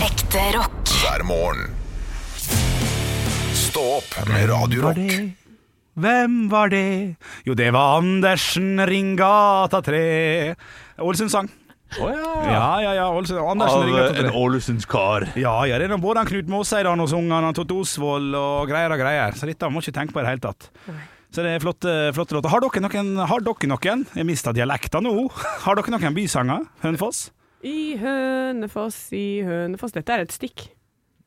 Ekte rock. hver morgen. Stå opp med Radio var Rock. det? Hvem var det? Jo, det var Andersen Ringata 3. Ålesund sang. Å ja. Ja, ja, ja. Ålesund. Andersen Av eh, Ringata en 3. Ålesundskar. Ja, ja, det er nå både han Knut Måseidane og sungene, han Totte Osvold og greier og greier. Så dette må ikke tenke på i det hele tatt. Så det er flotte, flotte låter. Har dere noen? Har dere noen? Jeg mista dialekta nå. Har dere noen bysanger? Hønefoss? I Hønefoss, i Hønefoss. Dette er et stikk.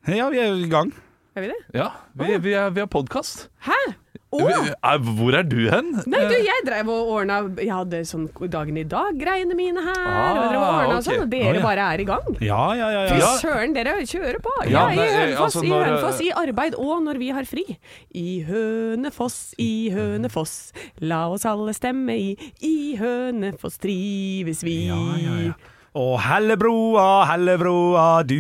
Ja, vi er i gang. Er vi det? Ja, vi, vi, er, vi har podkast. Hæ? Å! Hvor er du hen? Eh, Nei, du, jeg drev og ordna Jeg hadde sånn Dagen i dag-greiene mine her. Ah, og drev og ordna ok. og sånn, og Å, dere ja. bare er i gang. Ja, ja, ja. Fy ja. Ja. søren, dere kjører på! Ja, Ja, i nei, eh, Hønefoss, altså, i når, eh, Hønefoss, i arbeid og når vi har fri. I Hønefoss, i Hønefoss, la oss alle stemme i. I Hønefoss trives vi. Ja, ja, ja. Og Hellebroa, Hellebroa, du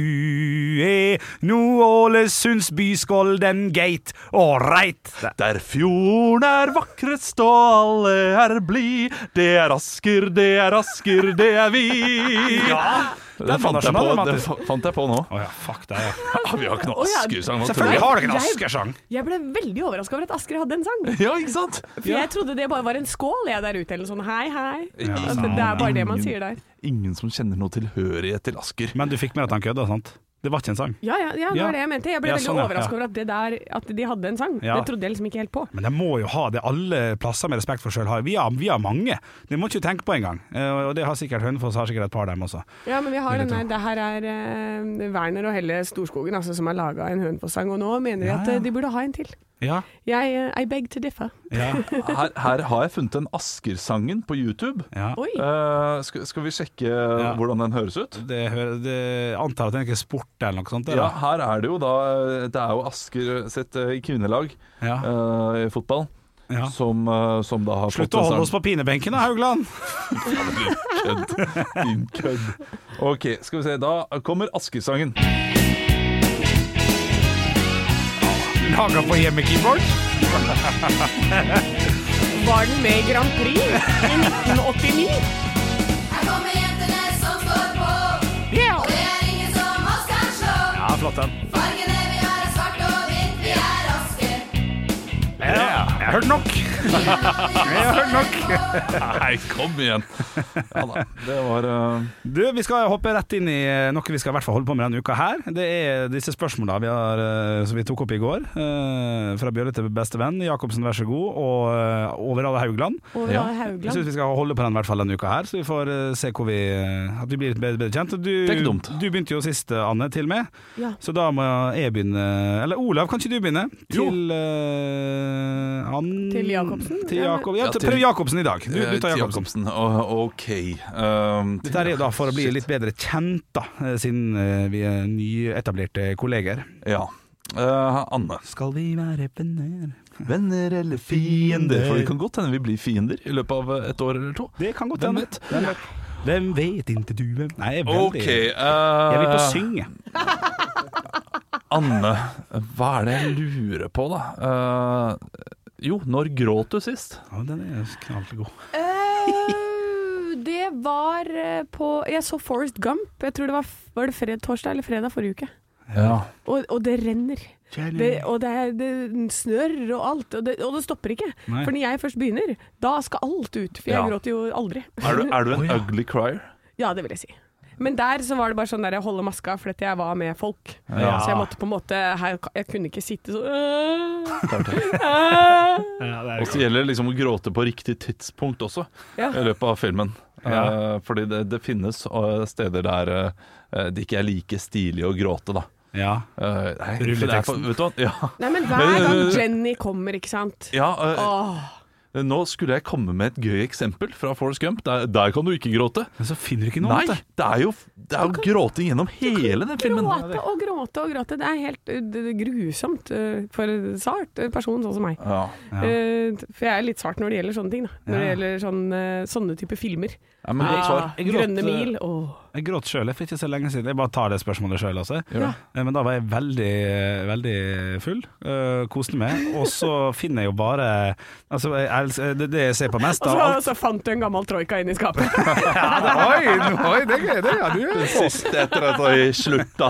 er nå Ålesunds bys golden gate. Ålreit. Der fjorden er vakrest og alle er blid. Det er Asker, det er Asker, det er vi. Ja. Den fant jeg på, nasjonal, den Mattis. fa- fant jeg på nå. Å ja, fuck det. ja. Ja, vi har ikke noe Å, ja. Asker-sang nå, tror Selvfølgelig jeg. har dere en Jeg- Askersang. Jeg ble veldig overraska over at Asker hadde en sang. Ja, ikke sant? For jeg trodde det bare var en skål jeg der ute, eller sånn hei, hei. Ja, At Altså, det, det er bare det man sier der. Ingen som kjenner noe tilhørighet til Asker. Men du fikk med at han kødda, sant? Det var ikke en sang. Ja, ja, ja, det Ja. var det jeg mente. Jeg ble Ja, veldig sånn, ja, overraska ja. over at, det der, at de hadde en sang. Ja. Det trodde jeg liksom ikke helt på. Men de må jo ha det alle plasser med respekt for sjøl har. Vi har, vi har mange. Det må ikke du tenke på engang. Eh, Og det har sikkert Hønefoss har sikkert et par, dem også. Ja, men vi har Vil jeg den der, det her er eh, Werner og Helle Storskogen altså, som har laga en Hønefoss-sang, og nå mener de Ja, at ja. eh, de burde ha en til. Ja. Jeg, eh, I beg to differ. ja, Her, her har jeg funnet den Asker-sangen på YouTube. ja. Oi! Eh, skal, skal vi sjekke hvordan den høres ut? Det, hører- det antar at det er ikke sport eller noe sånt? Ja, Eller? her er det jo da Det er jo Asker sitt eh, kvinnelag Ja. eh, i fotball Ja. som, eh, som da har Slutt å fått en holde sang. oss på pinebenken da, Haugland! Kødd. Din kødd. OK, skal vi se. Da kommer Asker-sangen. Laga på hjemmekeyboard. Eh. Var den med i Grand Prix i 1989? Her kommer jentene som står på, Ja! og det er ingen som oss kan slå. Ja, flott den. Fargene vi har er svart og hvitt, vi er Asker. Ja. Jeg har hørt nok. Jeg er har hørt nok. Nei, kom igjen! Ja da. Det var eh, Du, vi skal hoppe rett inn i eh, noe vi skal i hvert fall holde på med denne uka her. Det er disse spørsmåla vi har, eh, som vi tok opp i går. eh, Fra Bjørle til beste venn, Jacobsen vær så god, og eh, over alle Haugland. Over Ja. alle Jeg syns Haugland. vi skal holde på den i hvert fall denne uka her, så vi får eh, se hvor vi eh, At vi blir litt bedre, bedre kjent. Og Du, Det er ikke dumt. du begynte jo sist, eh, Anne, til og med. Ja. Så da må jeg begynne Eller Olav, kan ikke du begynne? Til eh, Ann- Til Jacobsen? Til Jakob. Ja, Ja, til, til- prøv Jacobsen i dag. Du, du tar eh, Jacobsen. Å, OK. Um, Dette er jo da for å bli Shit. litt bedre kjent, da, eh, siden eh, vi er nyetablerte kolleger. Ja. Eh, Anne. Skal vi være venner? Venner eller fiender? For det kan godt hende vi blir fiender i løpet av eh, et år eller to. Det kan godt Hvem hende. vet? Hvem vet? Hvem vet ikke du hvem Nei, jeg er veldig OK. Jeg vil på eh, synge. Anne, hva er det jeg lurer på, da? Eh, jo, når gråt du sist? Ja, den er knallgod. Eh, det var eh, på Jeg så Forest Gump. Jeg tror det var, f- var det fred, torsdag eller fredag forrige uke. Ja. Og, og det renner. Det, og det, er- det snør og alt. Og det, og det stopper ikke. Nei. For når jeg først begynner, da skal alt ut. For jeg Ja. gråter jo aldri. Er du, er du en Å, ja. ugly crier? Ja, det vil jeg si. Men der så var det bare sånn der jeg holder maska fordi jeg var med folk. Ja. Så jeg Ah. måtte på en måte her, Jeg kunne ikke sitte sånn øh, Og øh. Ja, det så gjelder det liksom å gråte på riktig tidspunkt også, Ja. i løpet av filmen. Ja. Eh, fordi det, det finnes eh, steder der eh, det ikke er like stilig å gråte, da. ja. Eh, nei, Rulleteksten. for det er for- Vet du hva? Ja. Nei, men hver gang Jenny kommer, ikke sant. øh, ja eh, Åh. Nå skulle jeg komme med et gøy eksempel fra Forrest Gump. Der, der kan du ikke gråte. Men så finner du ikke noe Nei, annet. det er jo, det er jo gråting gjennom hele den filmen. Gråte og gråte og gråte. Det er helt uh, det- det grusomt uh, for en sart uh, person sånn som meg. Ja. Ja. Uh, For jeg er litt svart når det gjelder eh, sånne ting. Da. Når det Ja. gjelder sånn, uh, sånne type filmer. Ja, men godt svar. Grønne mil. Åh. Jeg gråt sjøl for ikke så lenge siden. Jeg bare tar det spørsmålet sjøl, altså. Ja. Eh, Men da var jeg veldig, eh, veldig full. øh, koste meg. Og så finner jeg jo bare Altså, jeg elsker, det, det jeg ser på mest Og av så, alt så fant du en gammel troika inn i skapet. ja, det, Oi, oi, det er gøy, det ja, Det du. siste etter at jeg slutta.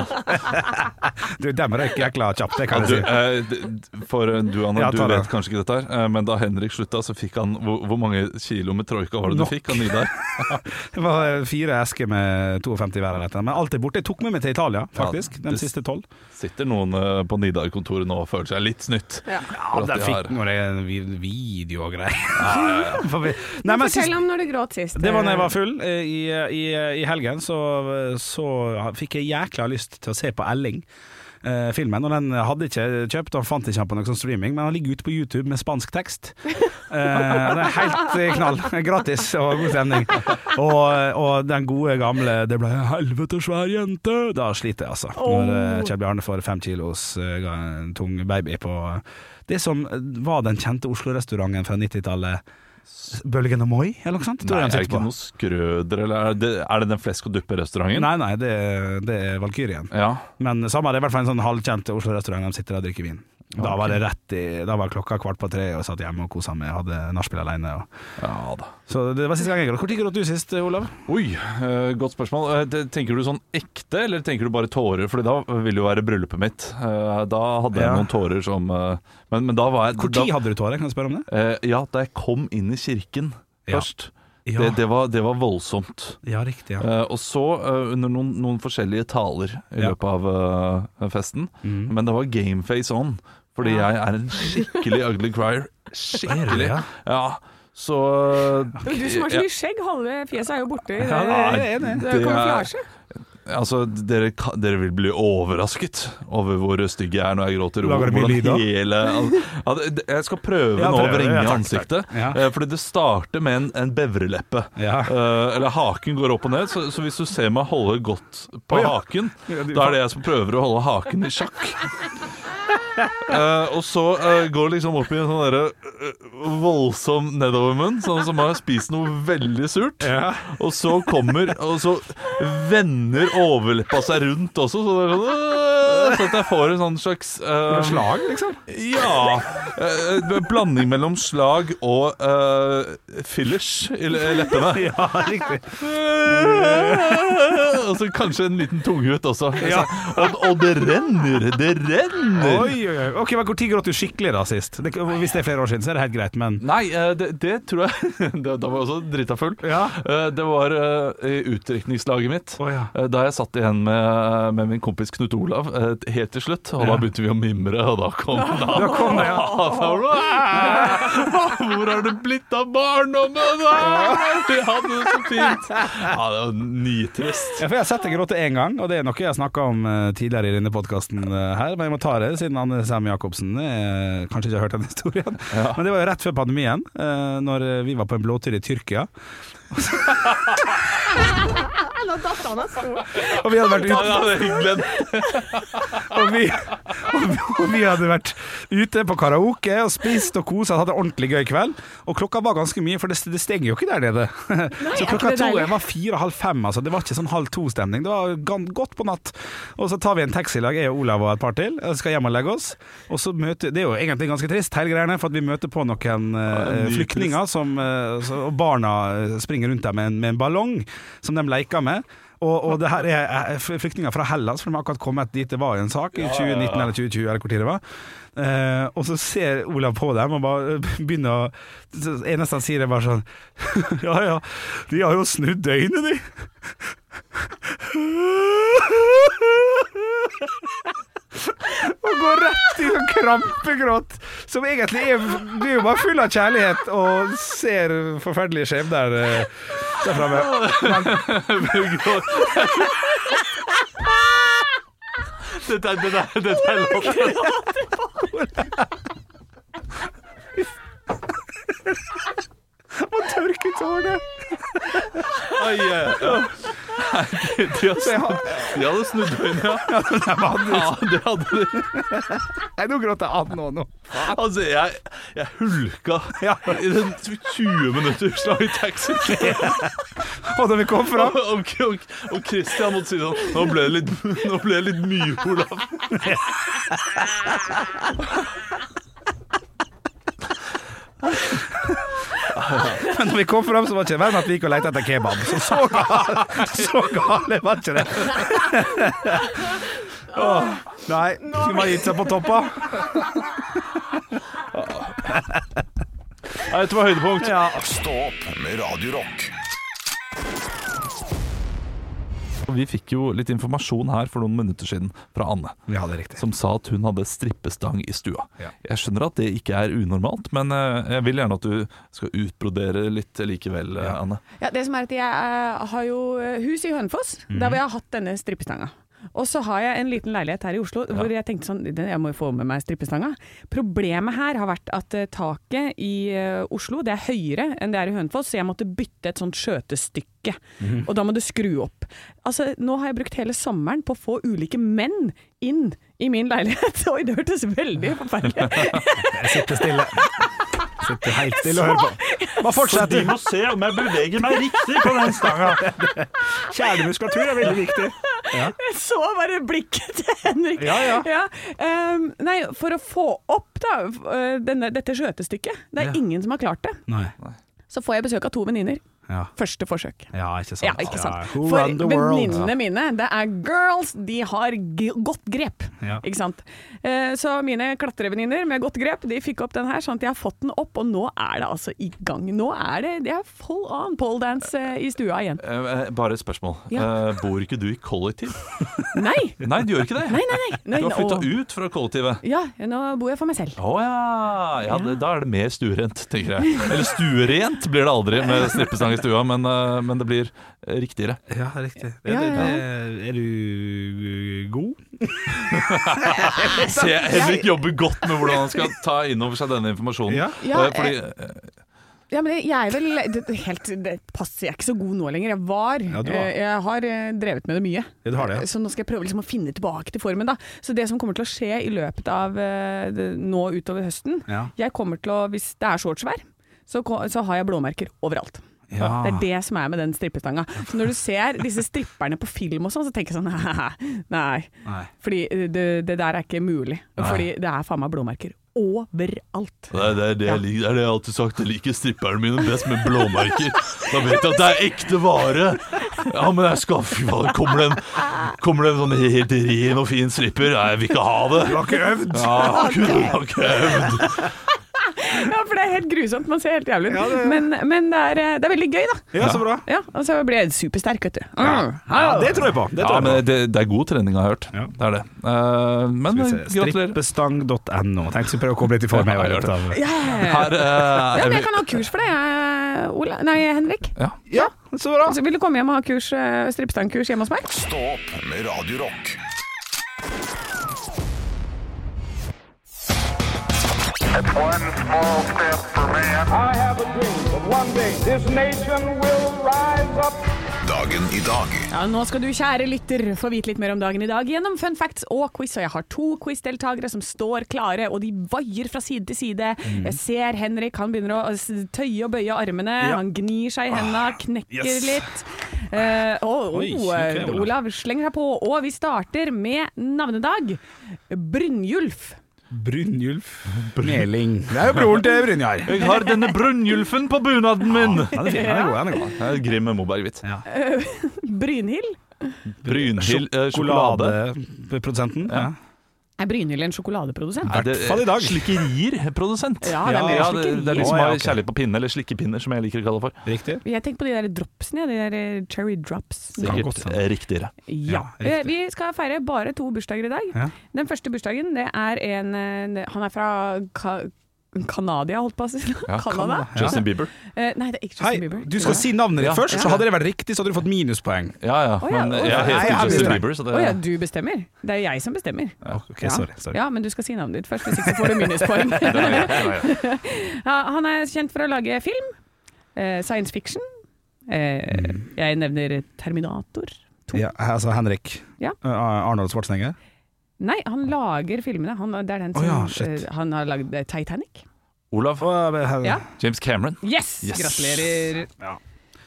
Du, dem røyk jækla kjapt, det kan Du, jeg si. eh, d- for eh, du, Anna, Ja, du ta det. vet kanskje ikke dette, her, eh, men da Henrik slutta, så fikk han Hvor, hvor mange kilo med troika var det Nok. du fikk av Nidar? Det var eh, fire esker med 52 hver. eller et eller annet, Men alt er borte. Jeg tok med meg til Italia, faktisk. det- De siste tolv. Sitter noen eh, på Nidar-kontoret nå og føler seg litt snytt? Ja. Ja, at de de har- fikk noe det- vi- video og greier. For vi- Nei, men sist- Fortell om når du gråt sist. Det var da jeg var full. Eh, I, i, i helgen så, så fikk jeg jækla lyst til å se på Elling. eh, filmen, og Den hadde jeg ikke kjøpt, og fant ikke han på noen sånn streaming, men han ligger ute på YouTube med spansk tekst. Eh, det er helt eh, knall. Gratis og god stemning. Og, og den gode gamle 'Det ble en helvete svær jente'. Da sliter jeg, altså. Når eh, Kjell Bjarne får fem kilos eh, ga en tung baby på det som var den kjente Oslo-restauranten fra 90-tallet. Bølgen og Moi, eller noe sånt? tror Nei, jeg han er det sitter på. ikke noe skrøder, eller er det, er det den flesk og duppe-restauranten? Nei, nei, det, er- det er Valkyrien. Ja. Men samme, det er i hvert fall en sånn halvkjent Oslo-restaurant. De sitter og drikker vin. Da var det rett i Da var klokka kvart på tre, og satt hjemme og kosa meg. Hadde nachspiel alene. Og. ja da. Så det var siste gang jeg gråt. Når gråt du sist, Olav? Oi, eh, godt spørsmål. Eh, det- tenker du sånn ekte, eller tenker du bare tårer? Fordi da ville jo være bryllupet mitt. Eh, da hadde jeg Ja. noen tårer som eh, men, men da var jeg Når da, hadde du tårer? Kan jeg spørre om det? eh, Ja, da jeg kom inn i kirken Ja. først. Det, det, var, det var voldsomt. ja riktig. Ja. Eh, og så, eh, under noen, noen forskjellige taler i Ja. løpet av eh, festen Mm. Men det var game face on, fordi Ja. jeg er en skikkelig ugly crier. Skikkelig. ja? Ja, så Men Du som har så mye skjegg, halve fjeset er jo borte. i Ja, det. det- jeg er enig. Det er jo kamuflasje. Altså, dere, ka- dere vil bli overrasket over hvor stygg jeg er når jeg gråter. Lager det mye Hvordan lyd da? hele, al- ja, det- jeg skal prøve Ja, nå prøv å det. vrenge Ja, takk, ansiktet, takk. Ja. eh, fordi det starter med en, en bevreleppe. Ja. Eh, eller haken går opp og ned, så, så hvis du ser meg holde godt Å, på ja. haken, Ja, du- da er det jeg som prøver å holde haken i sjakk. Eh, og så eh, går det liksom opp i en sånn derre eh, voldsom nedovermunn, sånn som har spist noe veldig surt. Ja. Og så kommer Og så vender overleppa seg rundt også, så det er sånn øh, Så at jeg får en sånn slags øh, Slag, liksom? Ja. øh, en blanding mellom slag og øh, fillers i le- leppene. Ja, riktig. Og så kanskje en liten tunghut også. Ja. Og, og det renner! Det renner! Oi, oi, oi. Ok, men Når gråt du skikkelig da sist? Det, hvis det er flere år siden, så er det helt greit, men Nei, eh, det, det tror jeg Da da var jeg også drita full. Ja. Eh, Det var eh, i utdrikningslaget mitt. Å, ja. Eh, Da jeg satt igjen med, med min kompis Knut Olav eh, helt til slutt, og Ja. da begynte vi å mimre, og da kom han. Da kom det, ja. Hvor har det blitt av barndommen? Vi hadde det så fint. Ja, det var nitrist. Ja, for Jeg har sett deg gråte én gang, og det er noe jeg har snakka om eh, tidligere i denne podkasten. her Men jeg må ta det, siden Anne Sem Jacobsen eh, kanskje ikke har hørt den historien. Men det var jo rett før pandemien, eh, når vi var på en blåtur i Tyrkia. Nå datt han av stolen. Og vi hadde vært Ja, ute det er hyggelig. og vi, og, vi, og vi hadde vært ute på karaoke og spist og kosa og hatt en ordentlig gøy kveld. Og klokka var ganske mye, for det, det stenger jo ikke der nede. så er ikke klokka det to deilig? jeg var fire-halv fem, altså. Det var ikke sånn halv to-stemning. Det var gan- godt på natt. Og så tar vi en taxi i lag, jeg og Olav og et par til. Jeg skal hjem og legge oss. Og så møter Det er jo egentlig ganske trist, hele greiene, for at vi møter på noen eh, Ja, ny flyktninger som eh, så, Og barna eh, springer rundt der med en, med en ballong som de leker med. Og, og det her er er flyktninger fra Hellas, for de har akkurat kommet dit det var jo en sak, i 2019 eller 2020, eller hvor tid det var. Eh, og så ser Olav på dem og bare eh, begynner å Det eneste han sier, er bare sånn Ja ja, de har jo snudd døgnet, de. Og går rett i sånn krampegråt, som egentlig er Du er jo bare full av kjærlighet og ser forferdelige skjebner eh, der framme. Dette er, dette er, dette er låten. Må tørke tårene. Ai, ai, ai. De hadde, de hadde snudd øynene, ja. ja. Det hadde de. Nei, nå gråter jeg av nå. nå. Altså, jeg, jeg hulka Ja. i den 20 minutter slag i taxi. Og da vi kom Og, fram og, og, og Christian måtte si sånn Nå ble det litt, nå ble det litt mye, Olav. Men når vi kom fram, så var det ikke verre enn at vi gikk og lette etter kebab. Så så gale, så gale var ikke det. Åh, nei, skulle man gitt seg på toppa? Nei, dette var høydepunkt. Ja. Stå opp med Radio Rock. Vi fikk jo litt informasjon her for noen minutter siden fra Anne. ja, det er riktig. Som sa at hun hadde strippestang i stua. Ja. Jeg skjønner at det ikke er unormalt, men eh, jeg vil gjerne at du skal utbrodere litt likevel, eh, Anne. Ja, det som er at jeg eh, har jo hus i Hønefoss, der hvor jeg har hatt denne strippestanga. Og så har jeg en liten leilighet her i Oslo hvor jeg tenkte sånn, "Den- jeg må jo få med meg strippestanga. Problemet her har vært at eh, taket i eh, Oslo det er høyere enn det er i Hønefoss, så jeg måtte bytte et sånt skjøtestykke. Og da må du skru opp. Altså, nå har jeg brukt hele sommeren på å få ulike menn inn i min leilighet. Oi, det hørtes veldig forferdelig ut. Jeg sitter stille. Sitter helt stille og hører på. Bare fortsett. De må se om jeg beveger meg riktig på den stanga. Kjernemuskulatur er veldig viktig. Jeg så bare blikket til Henrik. Ja, ja. ehm, nei, for å få opp da, f- øh, denne, dette skjøtestykket. Det er ingen som har klart det. Nei. Så får jeg besøk av to venninner. Ja. Første forsøk. Ah, ja, ikke sant. Ja, ikke sant. Who For run the world? venninnene mine, det er girls, de har g godt grep. Ja. Ikke sant? Eh, så mine klatrevenninner med godt grep, de fikk opp den her, sånn at jeg har fått den opp, og nå er det altså i gang. Nå er det, det er full on pole dance eh, i stua igjen. Eh, eh, Bare et spørsmål. Ja. Eh, Bor ikke du i kollektiv? Nei! Nei, du gjør ikke det. Nei, nei, nei. nei Du har flytta nå- ut fra kollektivet. Ja, nå bor jeg for meg selv. Å ja. ja det, da er det mer stuerent, tenker jeg. Eller stuerent blir det aldri med strippestang i stua, men, eh, men det blir eh, riktigere. Ja, riktig. Er, Ja, det- ja. det- er du god? Se, Henrik jobber godt med hvordan han skal ta inn over seg denne informasjonen. Ja. Ja, Eh, Fordi, eh, Ja, men jeg er vel det, det- helt, det passer, jeg er ikke så god nå lenger. Jeg var, du var. eh, jeg har eh, drevet med det mye. Ja, du har det, ja. Så nå skal jeg prøve liksom å finne tilbake til formen. Da. Så det som kommer til å skje i løpet av eh, det- nå utover høsten Ja. Jeg kommer til å, hvis det er shortsvær, så, ko- så har jeg blåmerker overalt. Ja. Det er det som er med den strippestanga. Så når du ser disse stripperne på film og sånn, så tenker jeg sånn Nei. Nei. Fordi eh, det, det der er ikke mulig. Fordi det er faen meg blåmerker overalt. det, er- det, er det, jeg liker- det er det jeg har alltid sagt. Jeg liker stripperne mine best med blåmerker. Da vet jeg at det er ekte vare. Ja, men jeg skal Fy faen, kommer det en, kommer det en sånn helt ren og fin stripper? Nei, jeg vil ikke ha det. Du har ikke øvd? Ja, kunne ha ikke øvd. Ja, for det er helt grusomt. Man ser helt jævlig ut. Men, men det, er, eh, det er veldig gøy, da. Ja, så bra. Ja, og så blir jeg supersterk, vet du. Mm. Ja, det tror jeg på. Det Ja, tror jeg på. men det, det er god trening, har jeg hørt. Ja. Det er det. Eh, Skal men vi se. gratulerer. Strippestang.no. Tenkte jeg skulle prøve å koble litt i form. Jeg, Ja, har jeg hørt av- Ja, ja, Her, eh, men er jeg kan ha kurs for det, jeg, Ola. Nei, Henrik. ja, så bra. Så vil du komme hjem og ha kurs, eh, strippestangkurs hjemme hos meg? Stå opp med Radio Rock. One small step for man. I have a dream that one day this nation will rise up. Dagen i dag. Ja, Nå skal du, kjære lytter, få vite litt mer om dagen i dag gjennom fun facts og quiz. Og jeg har to quizdeltakere som står klare, og de vaier fra side til side. Mm. Jeg ser Henrik, han begynner å s- tøye og bøye armene. Han gnir seg i hendene, knekker Ah, yes. litt. Eh, og Oi, oh, ok, Olav. Olav slenger seg på. Og vi starter med navnedag. Brynjulf. Brynjulf Meling. Det er jo broren til Brynjar. Jeg har denne Brynjulfen på bunaden min! Ja, den er fin. Den er god, den er god. Det er Grim med Moberg-hvitt. Brynhild? Brynhild eh, sjokolade. Sjokoladeprodusenten. Ja. Er Brynhild en sjokoladeprodusent? Er det, I hvert fall i dag. Slikkerier, eh, produsent. Ja, det er mye ja, det, slikkerier. det er de som Å, ja, har ok. kjærlighet på pinne, eller slikkepinner, som jeg liker å kalle det for. Riktig. Jeg tenker på de der dropsene, de der eh, cherry drops. Kan godt sånn. Sikkert hende. eh, riktigere. Ja. Ja, riktig. Eh, vi skal feire bare to bursdager i dag. Ja. Den første bursdagen, det er en eh, Han er fra Ka Kanadia, holdt på å si. Ja, Canada? Justin Bieber. Eh, nei, det er ikke Hei, Justin Bieber. du skal si navnet ditt først, så hadde det vært riktig, så hadde du fått minuspoeng. Ja ja, Å, ja, men eh, å, jeg ja. er helt Nei, jeg til Justin visste det. Bieber, så det Å ja, du bestemmer. Det er jeg som bestemmer. Ok, sorry. sorry. Ja, men du skal si navnet ditt først, hvis ikke så får du minuspoeng. ja, han er kjent for å lage Mm. film, eh, science fiction. Eh, jeg nevner Terminator. To. Ja, altså Henrik. Ja. Eh, Arnold Schwarzenegger. Nei, han lager filmene. Han, det er den Å som ja, shit. eh, Han har lagd eh, Titanic. Olav. eh, Ja. James Cameron. Yes! Yes. Gratulerer.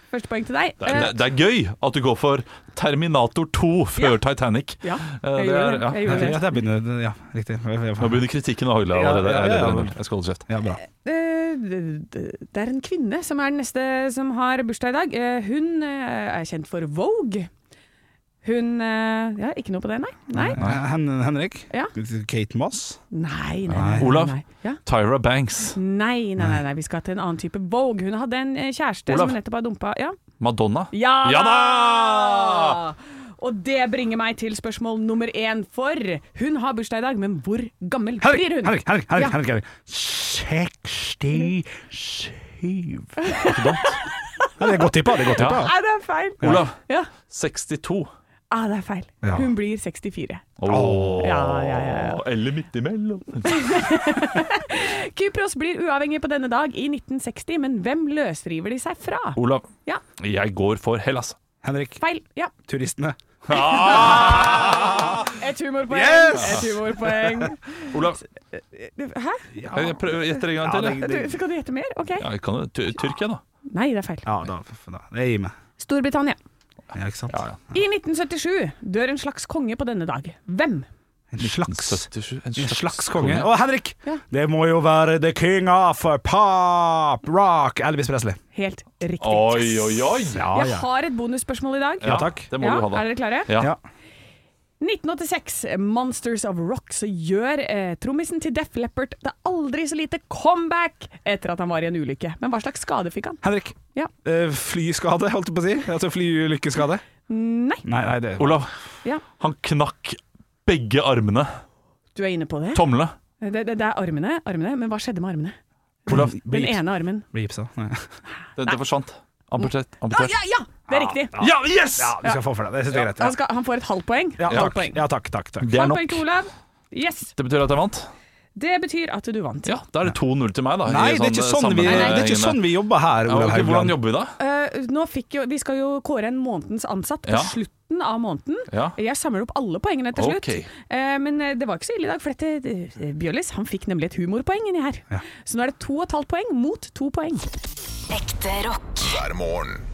Første poeng til deg. Det er, det er gøy at du går for Terminator 2 før Titanic. Ja, Eh, jeg det gjorde er- det. Jeg ja, gjorde det. Ja, der begynner Ja, riktig. Nå begynner kritikken å hagle Ja, allerede. ja, ja, ja. Jeg- Jeg skal holde kjeft. Ja, bra. Eh, det- det- det er en kvinne som er den neste som har bursdag i dag. Eh, Hun eh, er kjent for Vogue. Hun eh, Ja, ikke noe på det, nei? Nei, Hen Henrik? Eh, Ja. Kate Moss? nei, nei, nei, nei. Olav? Nei, ja. Tyra Banks. nei, nei, nei, nei. vi skal til en annen type Vogue. Hun hadde en eh, kjæreste Olav? som hun nettopp har dumpa. Ja. Madonna. Ja, Ja da! Og det bringer meg til spørsmål nummer én, for hun har bursdag i dag, men hvor gammel Henrik! blir hun? Henrik! Henrik! Henrik, Ja. Henrik, Henrik. 67 Ja, det er godt tippa. Det er godt tippa. Ja. Nei, Ah, det er feil. Olav. Ja. 62. Ah, det er feil. Ja. Hun blir 64. Oh. Ja, ja, ja, Eller midt imellom. Kypros blir uavhengig på denne dag i 1960, men hvem løsriver de seg fra? Olav, Ja, jeg går for Hellas. Henrik, feil. Ja. turistene. Ah! Et humorpoeng. Yes! Et humorpoeng. Olav, Hæ? jeg prøver gjetter en gang til. jeg. Du, så kan du gjette mer? Ok. Ja, jeg kan jo- Ty- Tyrkia, da. Nei, det er feil. Ja, da, da. det gir meg. Storbritannia. Ja, ikke sant? I 1977 dør en slags konge på denne dag. Hvem? En slags 77, en slags konge. Å, Henrik! Ja. Det må jo være the king of uh, pop, rock, Elvis Presley. Helt riktig. Oi, oi, oi! Ja, Jeg har et bonusspørsmål i dag. Ja, takk. Det må du ha, da. Er dere klare? Ja. Ja. 1986, Monsters of Rock, så gjør eh, trommisen til Def Leppard det aldri så lite comeback etter at han var i en ulykke. Men hva slags skade fikk han? Henrik. Ja. Eh, flyskade, holdt jeg på å si. Altså flyulykkeskade. Nei. Nei, nei, det Olav, Ja. han knakk begge armene. Du er inne på det. Tomlene. Det, det, det er armene, armene. Men hva skjedde med armene? Olav, Den ene armen. Blir gipsa. Nei. det, det forsvant. Amputert. Ja, amputert. Ah, ja, ja! Det er riktig. Ja, yes! Ja, vi skal få for det. Det syns jeg er greit. Han, skal, han får et halvt poeng. Ja, Halvt takk. poeng. Ja, takk, takk, takk. Det er Halvt nok. poeng til Olav. Yes. Det betyr at jeg vant? Det betyr at du vant. Ja, da er det 2-0 til meg, da. i Nei, det er ikke sånn vi, det sammenheng. er ikke sånn vi jobber her, Ja, Olav ok, hvordan Haugland. jobber vi da? Eh, nå fikk jo, vi skal jo kåre en månedens ansatt på Ja. slutten av måneden. Ja. Jeg samler opp alle poengene til slutt. Ok. Eh, men eh, det var ikke så ille i dag, for dette, eh, Bjørlis han fikk nemlig et humorpoeng inni her. Så nå er det to og et halvt poeng mot to poeng. Ekte rock. hver morgen.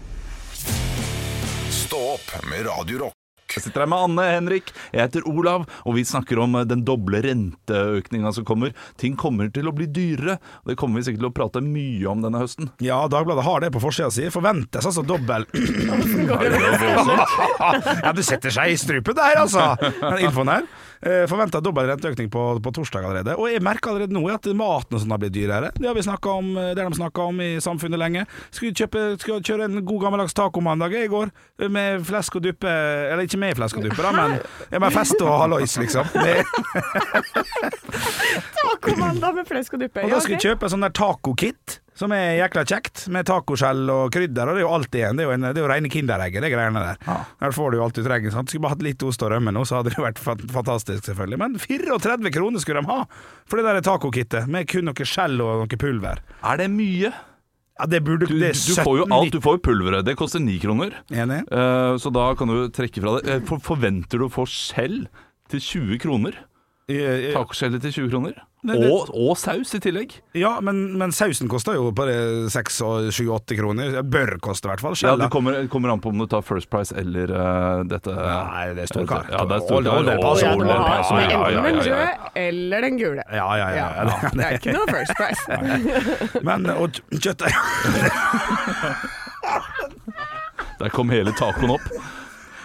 Stå opp med Radio Rock. Jeg sitter her med Anne Henrik, jeg heter Olav, og vi snakker om eh, den doble renteøkninga som kommer. Ting kommer til å bli dyrere, og det kommer vi sikkert til å prate mye om denne høsten. Ja, Dagbladet har det på forsida si. Forventes altså dobbel Ja, du setter seg i strupen der, altså! Den infoen her. Forventa dobbel renteøkning på, på torsdag allerede. Og jeg merker allerede nå at maten og sånn har blitt dyrere. Det har vi snakket om, eh, det har de snakka om i samfunnet lenge. Skulle kjøpe, skulle kjøre en god gammeldags tacomandag jeg, i går, eh, med flesk og duppe Eller ikke med flesk og duppe, da, men, ja, men fest og hallois, liksom. Det, Tacomandag med flesk og duppe. Og da skal jeg kjøpe sånn der tacokit, som er jækla kjekt, med tacoskjell og krydder, og det er jo alt igjen. Det er jo, en, det er jo rene Kinderegget, det greiene der. Der får du jo alt du trenger. Sant? Skulle bare hatt litt ost og rømme nå, så hadde det jo vært fant- fantastisk, selvfølgelig. Men 34 kroner skulle de ha for det der tacokittet, med kun noe skjell og noe pulver. Er det mye? Ja, det burde Du, det er du får jo 17 alt. Du får jo pulveret. Det koster ni kroner. Enig? Eh, Så da kan du trekke fra det. Eh, for- Forventer du å få skjell til 20 kroner? Eh, eh, Tacoskjellet til 20 kroner? Nei, det- Og, og saus i tillegg. Ja, men, men sausen koster jo bare 6-7-8 kroner. Bør koste, i hvert fall. Ja, Det Skjellet. kommer, kommer an på om du tar First Price eller eh, dette Nei, det er stor kar. Ja, det er stor Older- older Å, pass. ja, Ja, du må older ha pass. som er Ja, ja, ja, den ja, ja. røde eller den gule. ja, ja, ja, Eh, ja, ja. Det er ikke noe first price. Men og kj- kjøttet Der kom hele tacoen opp.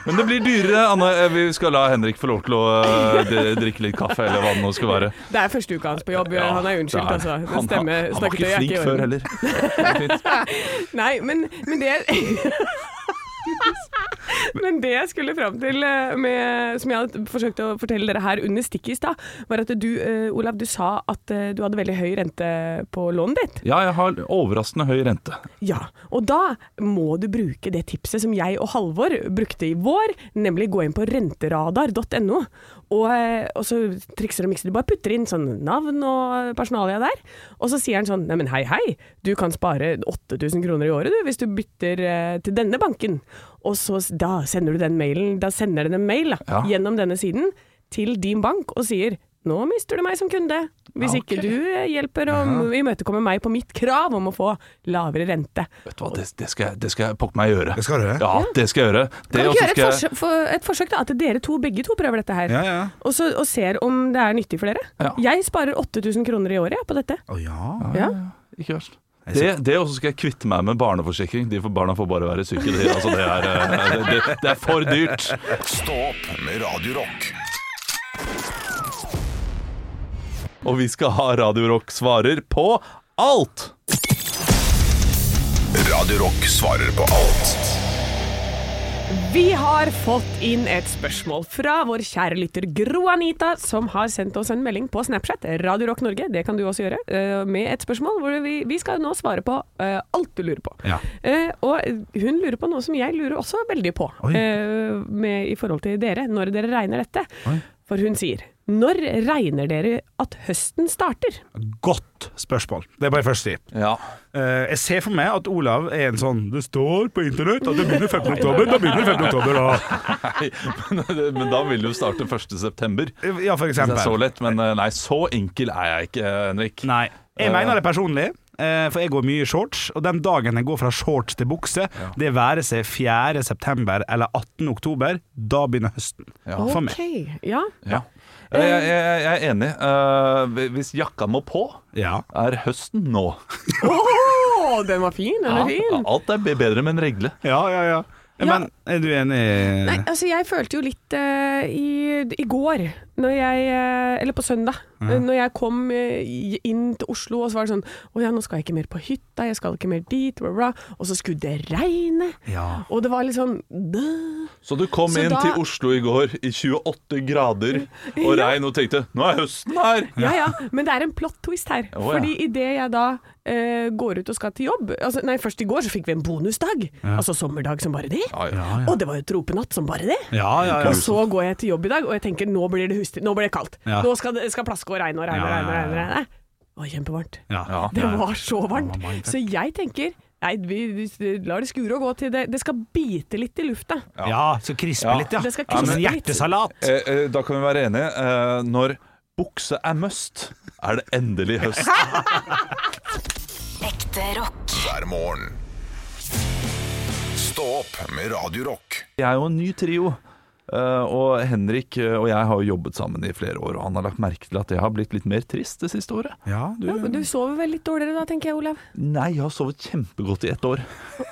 Men det blir dyrere, Anne. Eh, Vi skal la Henrik få lov til å eh, d- drikke litt kaffe, eller hva det nå skal være. Det er første uka hans på jobb, Ja, han er det unnskyldt, altså. Det han- stemmer. Han var Snakketøy ikke er flink i orden. før heller. Nei, men, men det Men det jeg skulle fram til, eh, med, som jeg hadde forsøkt å fortelle dere her under stikket i stad, var at du, eh, Olav, du sa at eh, du hadde veldig høy rente på lånet ditt. Ja, jeg har overraskende høy rente. Ja, og da må du bruke det tipset som jeg og Halvor brukte i vår, nemlig gå inn på renteradar.no, og, eh, og så trikser og mikser du. Bare putter inn sånn navn og personalia der, og så sier han sånn Neimen, hei, hei, du kan spare 8000 kroner i året du, hvis du bytter eh, til denne banken. Og så s- da sender du den mailen, da sender den en mail da, Ja. gjennom denne siden til din bank og sier nå mister du meg som kunde hvis Ja, ok. ikke du eh, hjelper å imøtekomme meg på mitt krav om å få lavere rente. Vet du hva, det, det, skal, jeg- det skal jeg pokke meg i øret. Det skal du gjøre. Ja, det skal jeg gjøre. Det, Kan og vi så gjøre et, skal jeg- forsøk, for, et forsøk, da? At dere to begge to prøver dette her. Ja, ja. Og, så, og ser om det er nyttig for dere. Ja. Jeg sparer 8000 kroner i året ja, på dette. Å ja. Ja. Ikke verst. Det, det og så skal jeg kvitte meg med barneforsikring. De for barna får bare være syke. Det, altså, det, er, eh, det, det, det er for dyrt. Stå opp med Radio Rock. Og vi skal ha Radio Rock svarer på alt! Radio Rock svarer på alt. Vi har fått inn et spørsmål fra vår kjære lytter Gro Anita, som har sendt oss en melding på Snapchat, Radio Rock Norge, det kan du også gjøre, eh, med et spørsmål hvor vi, vi skal nå svare på eh, alt du lurer på. Ja. Eh, Og hun lurer på noe som jeg lurer også veldig på, Oi. eh, med, i forhold til dere, når dere regner dette. For hun sier, når regner dere at høsten starter? Godt spørsmål. Det er bare først si. Ja. Eh, jeg ser for meg at Olav er en sånn Det står på internett at det begynner 15. oktober. Da begynner 15. oktober, og Nei, men, men da vil du starte 1. september. Ja, for Det er så eksempel. lett, men eh, nei, så enkel er jeg ikke, eh, Henrik. Nei. Jeg mener det personlig, eh, for jeg går mye i shorts. Og den dagen jeg går fra shorts til bukse, det være seg 4. september eller 18. oktober, da begynner høsten. For meg. Ok, ja. Ja. Eh, Jeg, jeg, jeg er enig. Eh, hvis jakka må på, Ja. er høsten nå. Åh, den var fin, den var fin. alt er bedre med en regle. Ja, ja, ja. Men er du enig? Nei, altså jeg følte jo litt eh, i, i går, når jeg, eh, eller på søndag, eh, når jeg kom eh, i- inn til Oslo, og så var det sånn Å ja, nå skal jeg ikke mer på hytta, jeg skal ikke mer dit, bla, bla. bla». Og så skulle det regne. Ja. Og det var litt sånn «Bæ». Så du kom Så inn da- til Oslo i går i 28 grader og regn og tenkte 'nå er høsten her'. Ja ja, men det er en plot twist her. Å, ja. Fordi idet jeg da eh, går ut og skal til jobb altså, Nei, først i går så fikk vi en bonusdag. Altså sommerdag som bare det. Ja, ja. Og det var jo tropenatt som bare det. Ja, ja, ja. Og så går jeg til jobb i dag, og jeg tenker nå blir det hustid, nå blir det kaldt. Ja. Nå skal, det- skal plaske og regne og regne og Ja, ja, regne. og ja, regne, ja. regne. Det var kjempevarmt. ja. Ja. Det var så varmt. Det var varmt, ja. Så jeg tenker Nei, vi vi lar det skure og gå til det. Det skal bite litt i lufta. ja så krispe Ja. litt, ja. Det skal Som krispe en litt. hjertesalat. Eh, eh, da kan vi være enige. Eh, når bukse er must, er det endelig høst. Ekte rock. hver morgen. Stå opp med Radio Rock. Jeg er jo en ny trio. eh, og Henrik eh, og jeg har jo jobbet sammen i flere år, og han har lagt merke til at jeg har blitt litt mer trist det siste året. Ja, du Men Du sover vel litt dårligere da, tenker jeg, Olav. Nei, jeg har sovet kjempegodt i ett år.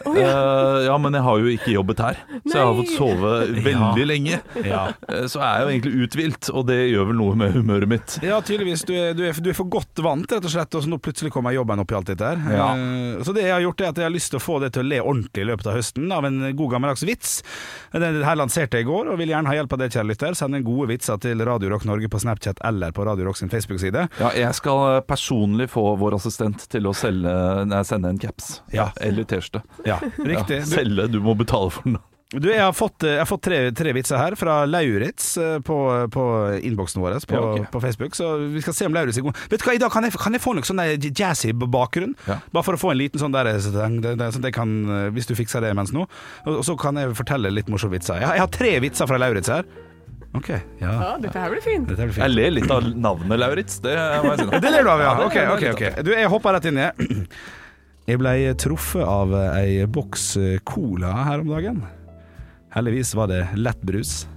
ja. Eh, ja, men jeg har jo ikke jobbet her, så jeg har fått sove veldig lenge. Ja. Eh, så jeg er jo egentlig uthvilt, og det gjør vel noe med humøret mitt. Ja, tydeligvis. Du er, du, er, du er for godt vant, rett og slett, og så nå plutselig kommer jobben opp i alt dette her. Ja. Eh, Så det jeg har gjort, er at jeg har lyst til å få det til å le ordentlig i løpet av høsten, av en god gammeldags vits. Den her lanserte jeg i går, og vil gjerne ha hjelp av deg, kjære lytter. Send inn gode vitser til Radio Rock Norge på Snapchat eller på Radio Rock sin Facebook-side. Ja, jeg skal personlig få vår assistent til å selge, nei, sende en caps. Ja. Eller T-skjorte. Ja, riktig. Ja, Du, selge, du må betale for den. du, jeg har fått, eh, jeg har fått tre, tre vitser her fra Lauritz eh, på, på innboksen vår på, Ja, ok. på Facebook, så vi skal se om Lauritz er god. Vet du hva, i dag kan jeg, kan jeg få noe sånn der jazzy bakgrunn? Ja. Bare for å få en liten sånn der så den- den- den- sånn at jeg kan, eh, Hvis du fikser det mens nå, og og så kan jeg fortelle litt morsomme vitser. Jeg har, jeg har tre vitser fra Lauritz her. OK. Ja, Ja, dette her blir fint. dette blir fint. Jeg ler litt av navnet Lauritz, det må jeg si. nå. Det ler du av, ja. det Ok, ler jeg ok, litt ok. Du, jeg hopper rett inn i det. Jeg ble truffet av ei boks eh, cola her om dagen. Heldigvis var det lettbrus.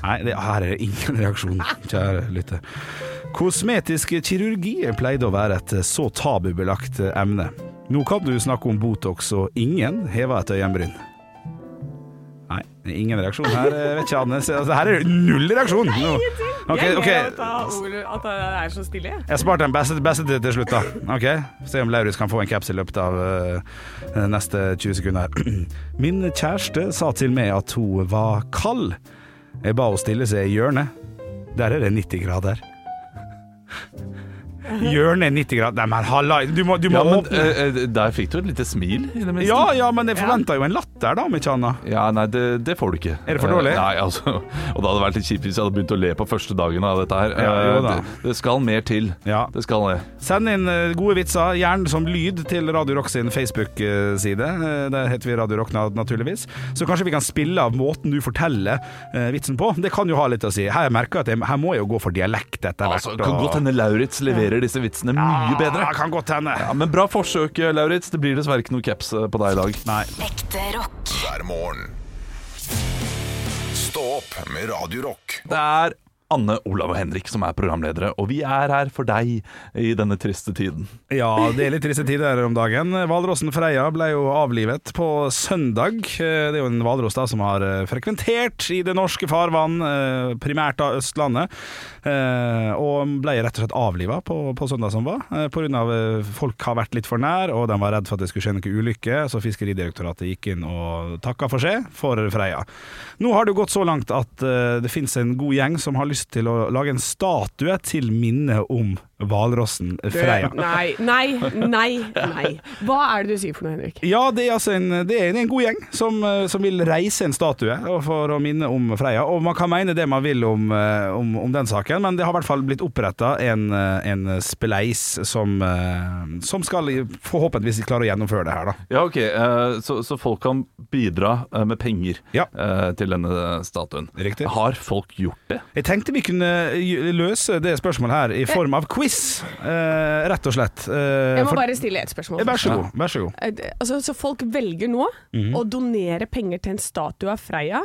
Nei, det, her er det ingen reaksjon, kjære lytter. Kosmetisk kirurgi pleide å være et eh, så tabubelagt eh, emne. Nå kan du snakke om Botox, og ingen hever et øyenbryn. Nei, det er ingen reaksjon her. Jeg vet ikke, Anne. Altså, her er det null reaksjon. Nå. Ok, jeg ok. ler av at, Olav- at det er så stille, jeg. Jeg sparte den beste, beste til, til slutt, da. Ok, Se om Lauritz kan få en caps i løpet av eh, neste 20 sekunder. her. Min kjæreste sa til meg at hun var kald. Jeg ba henne stille seg i hjørnet. Der er det 90 grader. Hjørnet er 90 grader. Nei, men halla, du må, du må Ja, men åpne eh, eh, der fikk du et lite smil, i det minste. ja, ja, men jeg forventa jo en latter, da, om ikke annet. Ja, nei, det, det får du ikke. Er det for dårlig? Eh, Nei, altså Og det hadde vært litt kjipt hvis jeg hadde begynt å le på første dagen av dette her. Ja, Eh, jo da. det, det skal mer til. Ja. Det skal det. Send inn eh, gode vitser, gjerne som lyd, til Radio Rock sin Facebook-side. Eh, Der heter vi Radio Rock, na- naturligvis. Så kanskje vi kan spille av måten du forteller eh, vitsen på. Det kan jo ha litt å si. Her, merker jeg at jeg, her må jeg jo gå for dialekt etter hvert. Altså, kan godt hende Lauritz leverer disse vitsene mye bedre. Ja, kan godt hende. Ja, men bra forsøk, Lauritz. Det blir dessverre ikke noe caps eh, på deg i dag. Nei. Ekte rock. hver morgen. Stå opp med Radio Rock. Det er Anne, Olav og Henrik som er programledere, og vi er her for deg i denne triste tiden. Ja, det er litt triste tider om dagen. Hvalrossen Freya ble jo avlivet på søndag. Eh, Det er jo en hvalross da som har eh, frekventert i det norske farvann, eh, primært av Østlandet, eh, og ble rett og slett avliva på, på søndag som var, eh, på grunn av eh, folk har vært litt for nær, og de var redd for at det skulle skje noe ulykke, så Fiskeridirektoratet gikk inn og takka for seg for Freya. Nå har det jo gått så langt at eh, det finnes en god gjeng som har lyst til å lage en statue til minne om hvalrossen Freya. Nei, nei, nei, nei. Hva er det du sier for noe, Henrik? Ja, det er, altså en, det er en god gjeng som, eh, som vil reise en statue og for å minne om Freia. Og man kan mene det man vil om, eh, om, om den saken, men det har i hvert fall blitt oppretta en, eh, en spleis som, eh, som skal i- forhåpentligvis klare å gjennomføre det her, da. Ja, ok, eh, så, så folk kan bidra eh, med penger Ja. eh, til denne statuen. Riktig. Har folk gjort det? Jeg tenkte vi kunne gj- løse det spørsmålet her i form av quiz, eh, rett og slett. Eh, Jeg må for- bare stille et spørsmål. Eh, Vær så god. Vær så god. Eh, det- Altså, så folk velger nå Mhm. å donere penger til en statue av Freia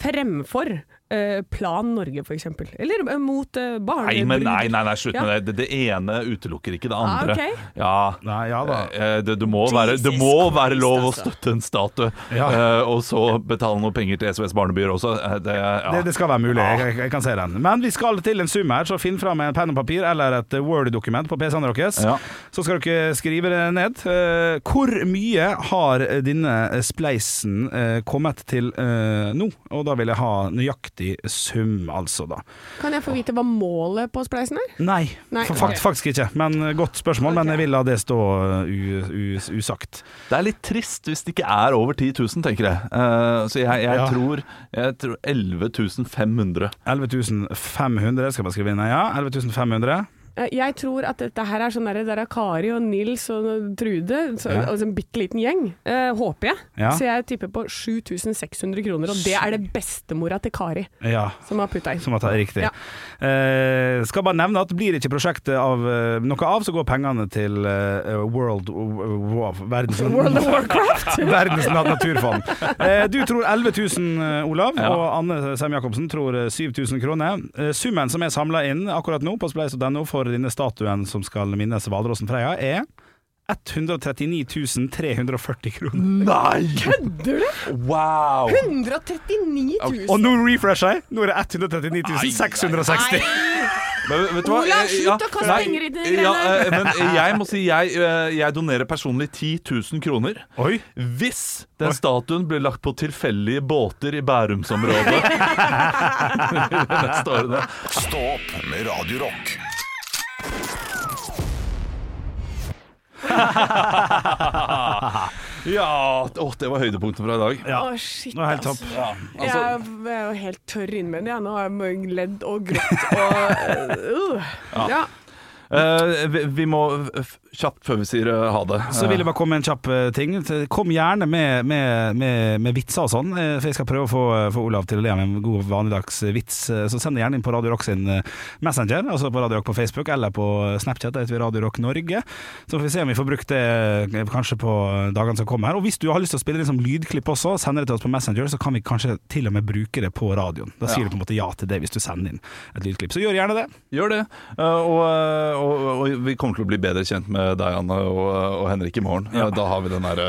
fremfor eh, Plan Norge, for eksempel. Eller eh, mot uh, Nei, men nei, nei, nei slutt Ja. Ah, med det. det. Det ene utelukker ikke det andre. ok. Ja, Nei, ja da. eh, det, det, må være, det må være lov å altså. støtte en statue, Ja. eh, og så betale noe penger til SOS Barnebyer også. Eh, Det, ja. Det, det skal være mulig, jeg, jeg, jeg kan se den. Men vi skal til en sum her, så finn fram en penn og papir eller et eh, Word-dokument på PC-en deres. Ja. Så skal dere skrive det ned. Eh, hvor mye har denne spleisen eh, kommet til eh, nå? Og da vil jeg ha nøyaktig sum, altså, da. Kan jeg få vite hva målet på spleisen er? Nei, Nei, fa- fakt- ok. faktisk ikke. Men eh, godt spørsmål, men jeg vil la det stå eh, u, u, usagt. Det er litt trist hvis det ikke er over 10 000, tenker jeg. Eh, så jeg, jeg, Ja. tror, jeg tror 11 500. 11 500 skal man skrive inn, ja. 11 500. Eh, Jeg tror at dette her er sånn der, der er Kari og Nils og Trude, så, Ja. altså en bitte liten gjeng, eh, håper jeg. Ja. Så jeg tipper på 7600 kroner, og det er det bestemora til Kari Ja. som har putta inn. Som at det er riktig. Ja. Eh, skal bare nevne at blir ikke prosjektet av, eh, noe av, så går pengene til eh, World Wow, verdens, World of Warcraft! verdens nat- naturfond. Eh, du tror 11 000, eh, Olav, og Anne Sem-Jacobsen tror eh, 7000 kroner. Eh, summen som er samla inn akkurat nå på spleis.no for denne statuen som skal minnes hvalrossen Freia, er 139 340 kroner. Nei! Kødder du? Wow! 139 000! Og nå refresher jeg! Nå er det 139 660. Men, vet du hva? Olav, Eh, slutt å kaste nei, penger i de Ja, greiene. eh, men jeg må si jeg, eh, jeg donerer personlig 10 000 kroner. Oi! Hvis den statuen blir lagt på tilfeldige båter i Bærumsområdet de neste årene. Stå opp med Radio Rock. Ja, å, det var høydepunktet fra i dag. Å, shit, Det var helt topp. jeg er- jeg er jo helt tørr innvendig. jeg. Nå har jeg ledd og grått og uh, ja. Eh, vi, vi må f- kjapt før vi sier eh, ha det. Så vil jeg bare komme med en kjapp eh, ting. Kom gjerne med, med, med, med vitser og sånn, eh, for jeg skal prøve å få, få Olav til å le av en god vanligdags vits. Eh, Så send det gjerne inn på Radio Rock sin eh, Messenger, altså på Radio Rock på Facebook eller på Snapchat. Der heter vi Radio Rock Norge. Så får vi se om vi får brukt det eh, kanskje på dagene som kommer her. Og hvis du har lyst til å spille det som lydklipp også, send det til oss på Messenger, så kan vi kanskje til og med bruke det på radioen. Da sier du på en måte ja til det hvis du sender inn et lydklipp. Så gjør gjerne det. Gjør det. Eh, og, eh, og, og vi kommer til å bli bedre kjent med deg, Anne, og, og Henrik i morgen. Eh, Da har vi den derre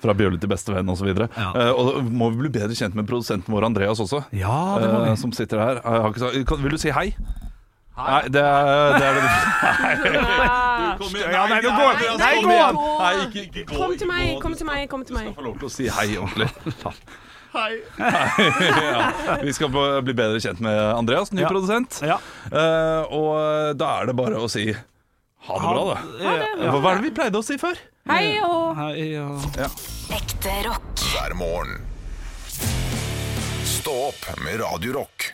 fra bjølle til bestevenn osv. Og, Ja. ja. og da må vi bli bedre kjent med produsenten vår Andreas også, Ja, det må eh, vi. som sitter her. Jeg har ikke sagt, kan, vil du si hei? Nei, det er det, er det. Du, kom igjen. Ja, nei, nå går- Andreas, nei, kom gå! igjen. Nei, ikke, ikke gå. Kom ikke til meg, gå. kom til meg, kom til Du meg. skal få lov til å si hei ordentlig. Hei. ja. Vi skal få bli bedre kjent med Andreas, ny Eh, Ja. produsent. Ja. Eh, og da er det bare å si Ha det bra, da. Ja. Hva hva er det vi pleide å si før? Hei og Hei, Eh, ja. Ekte rock. hver morgen. Stå opp med Radio Rock.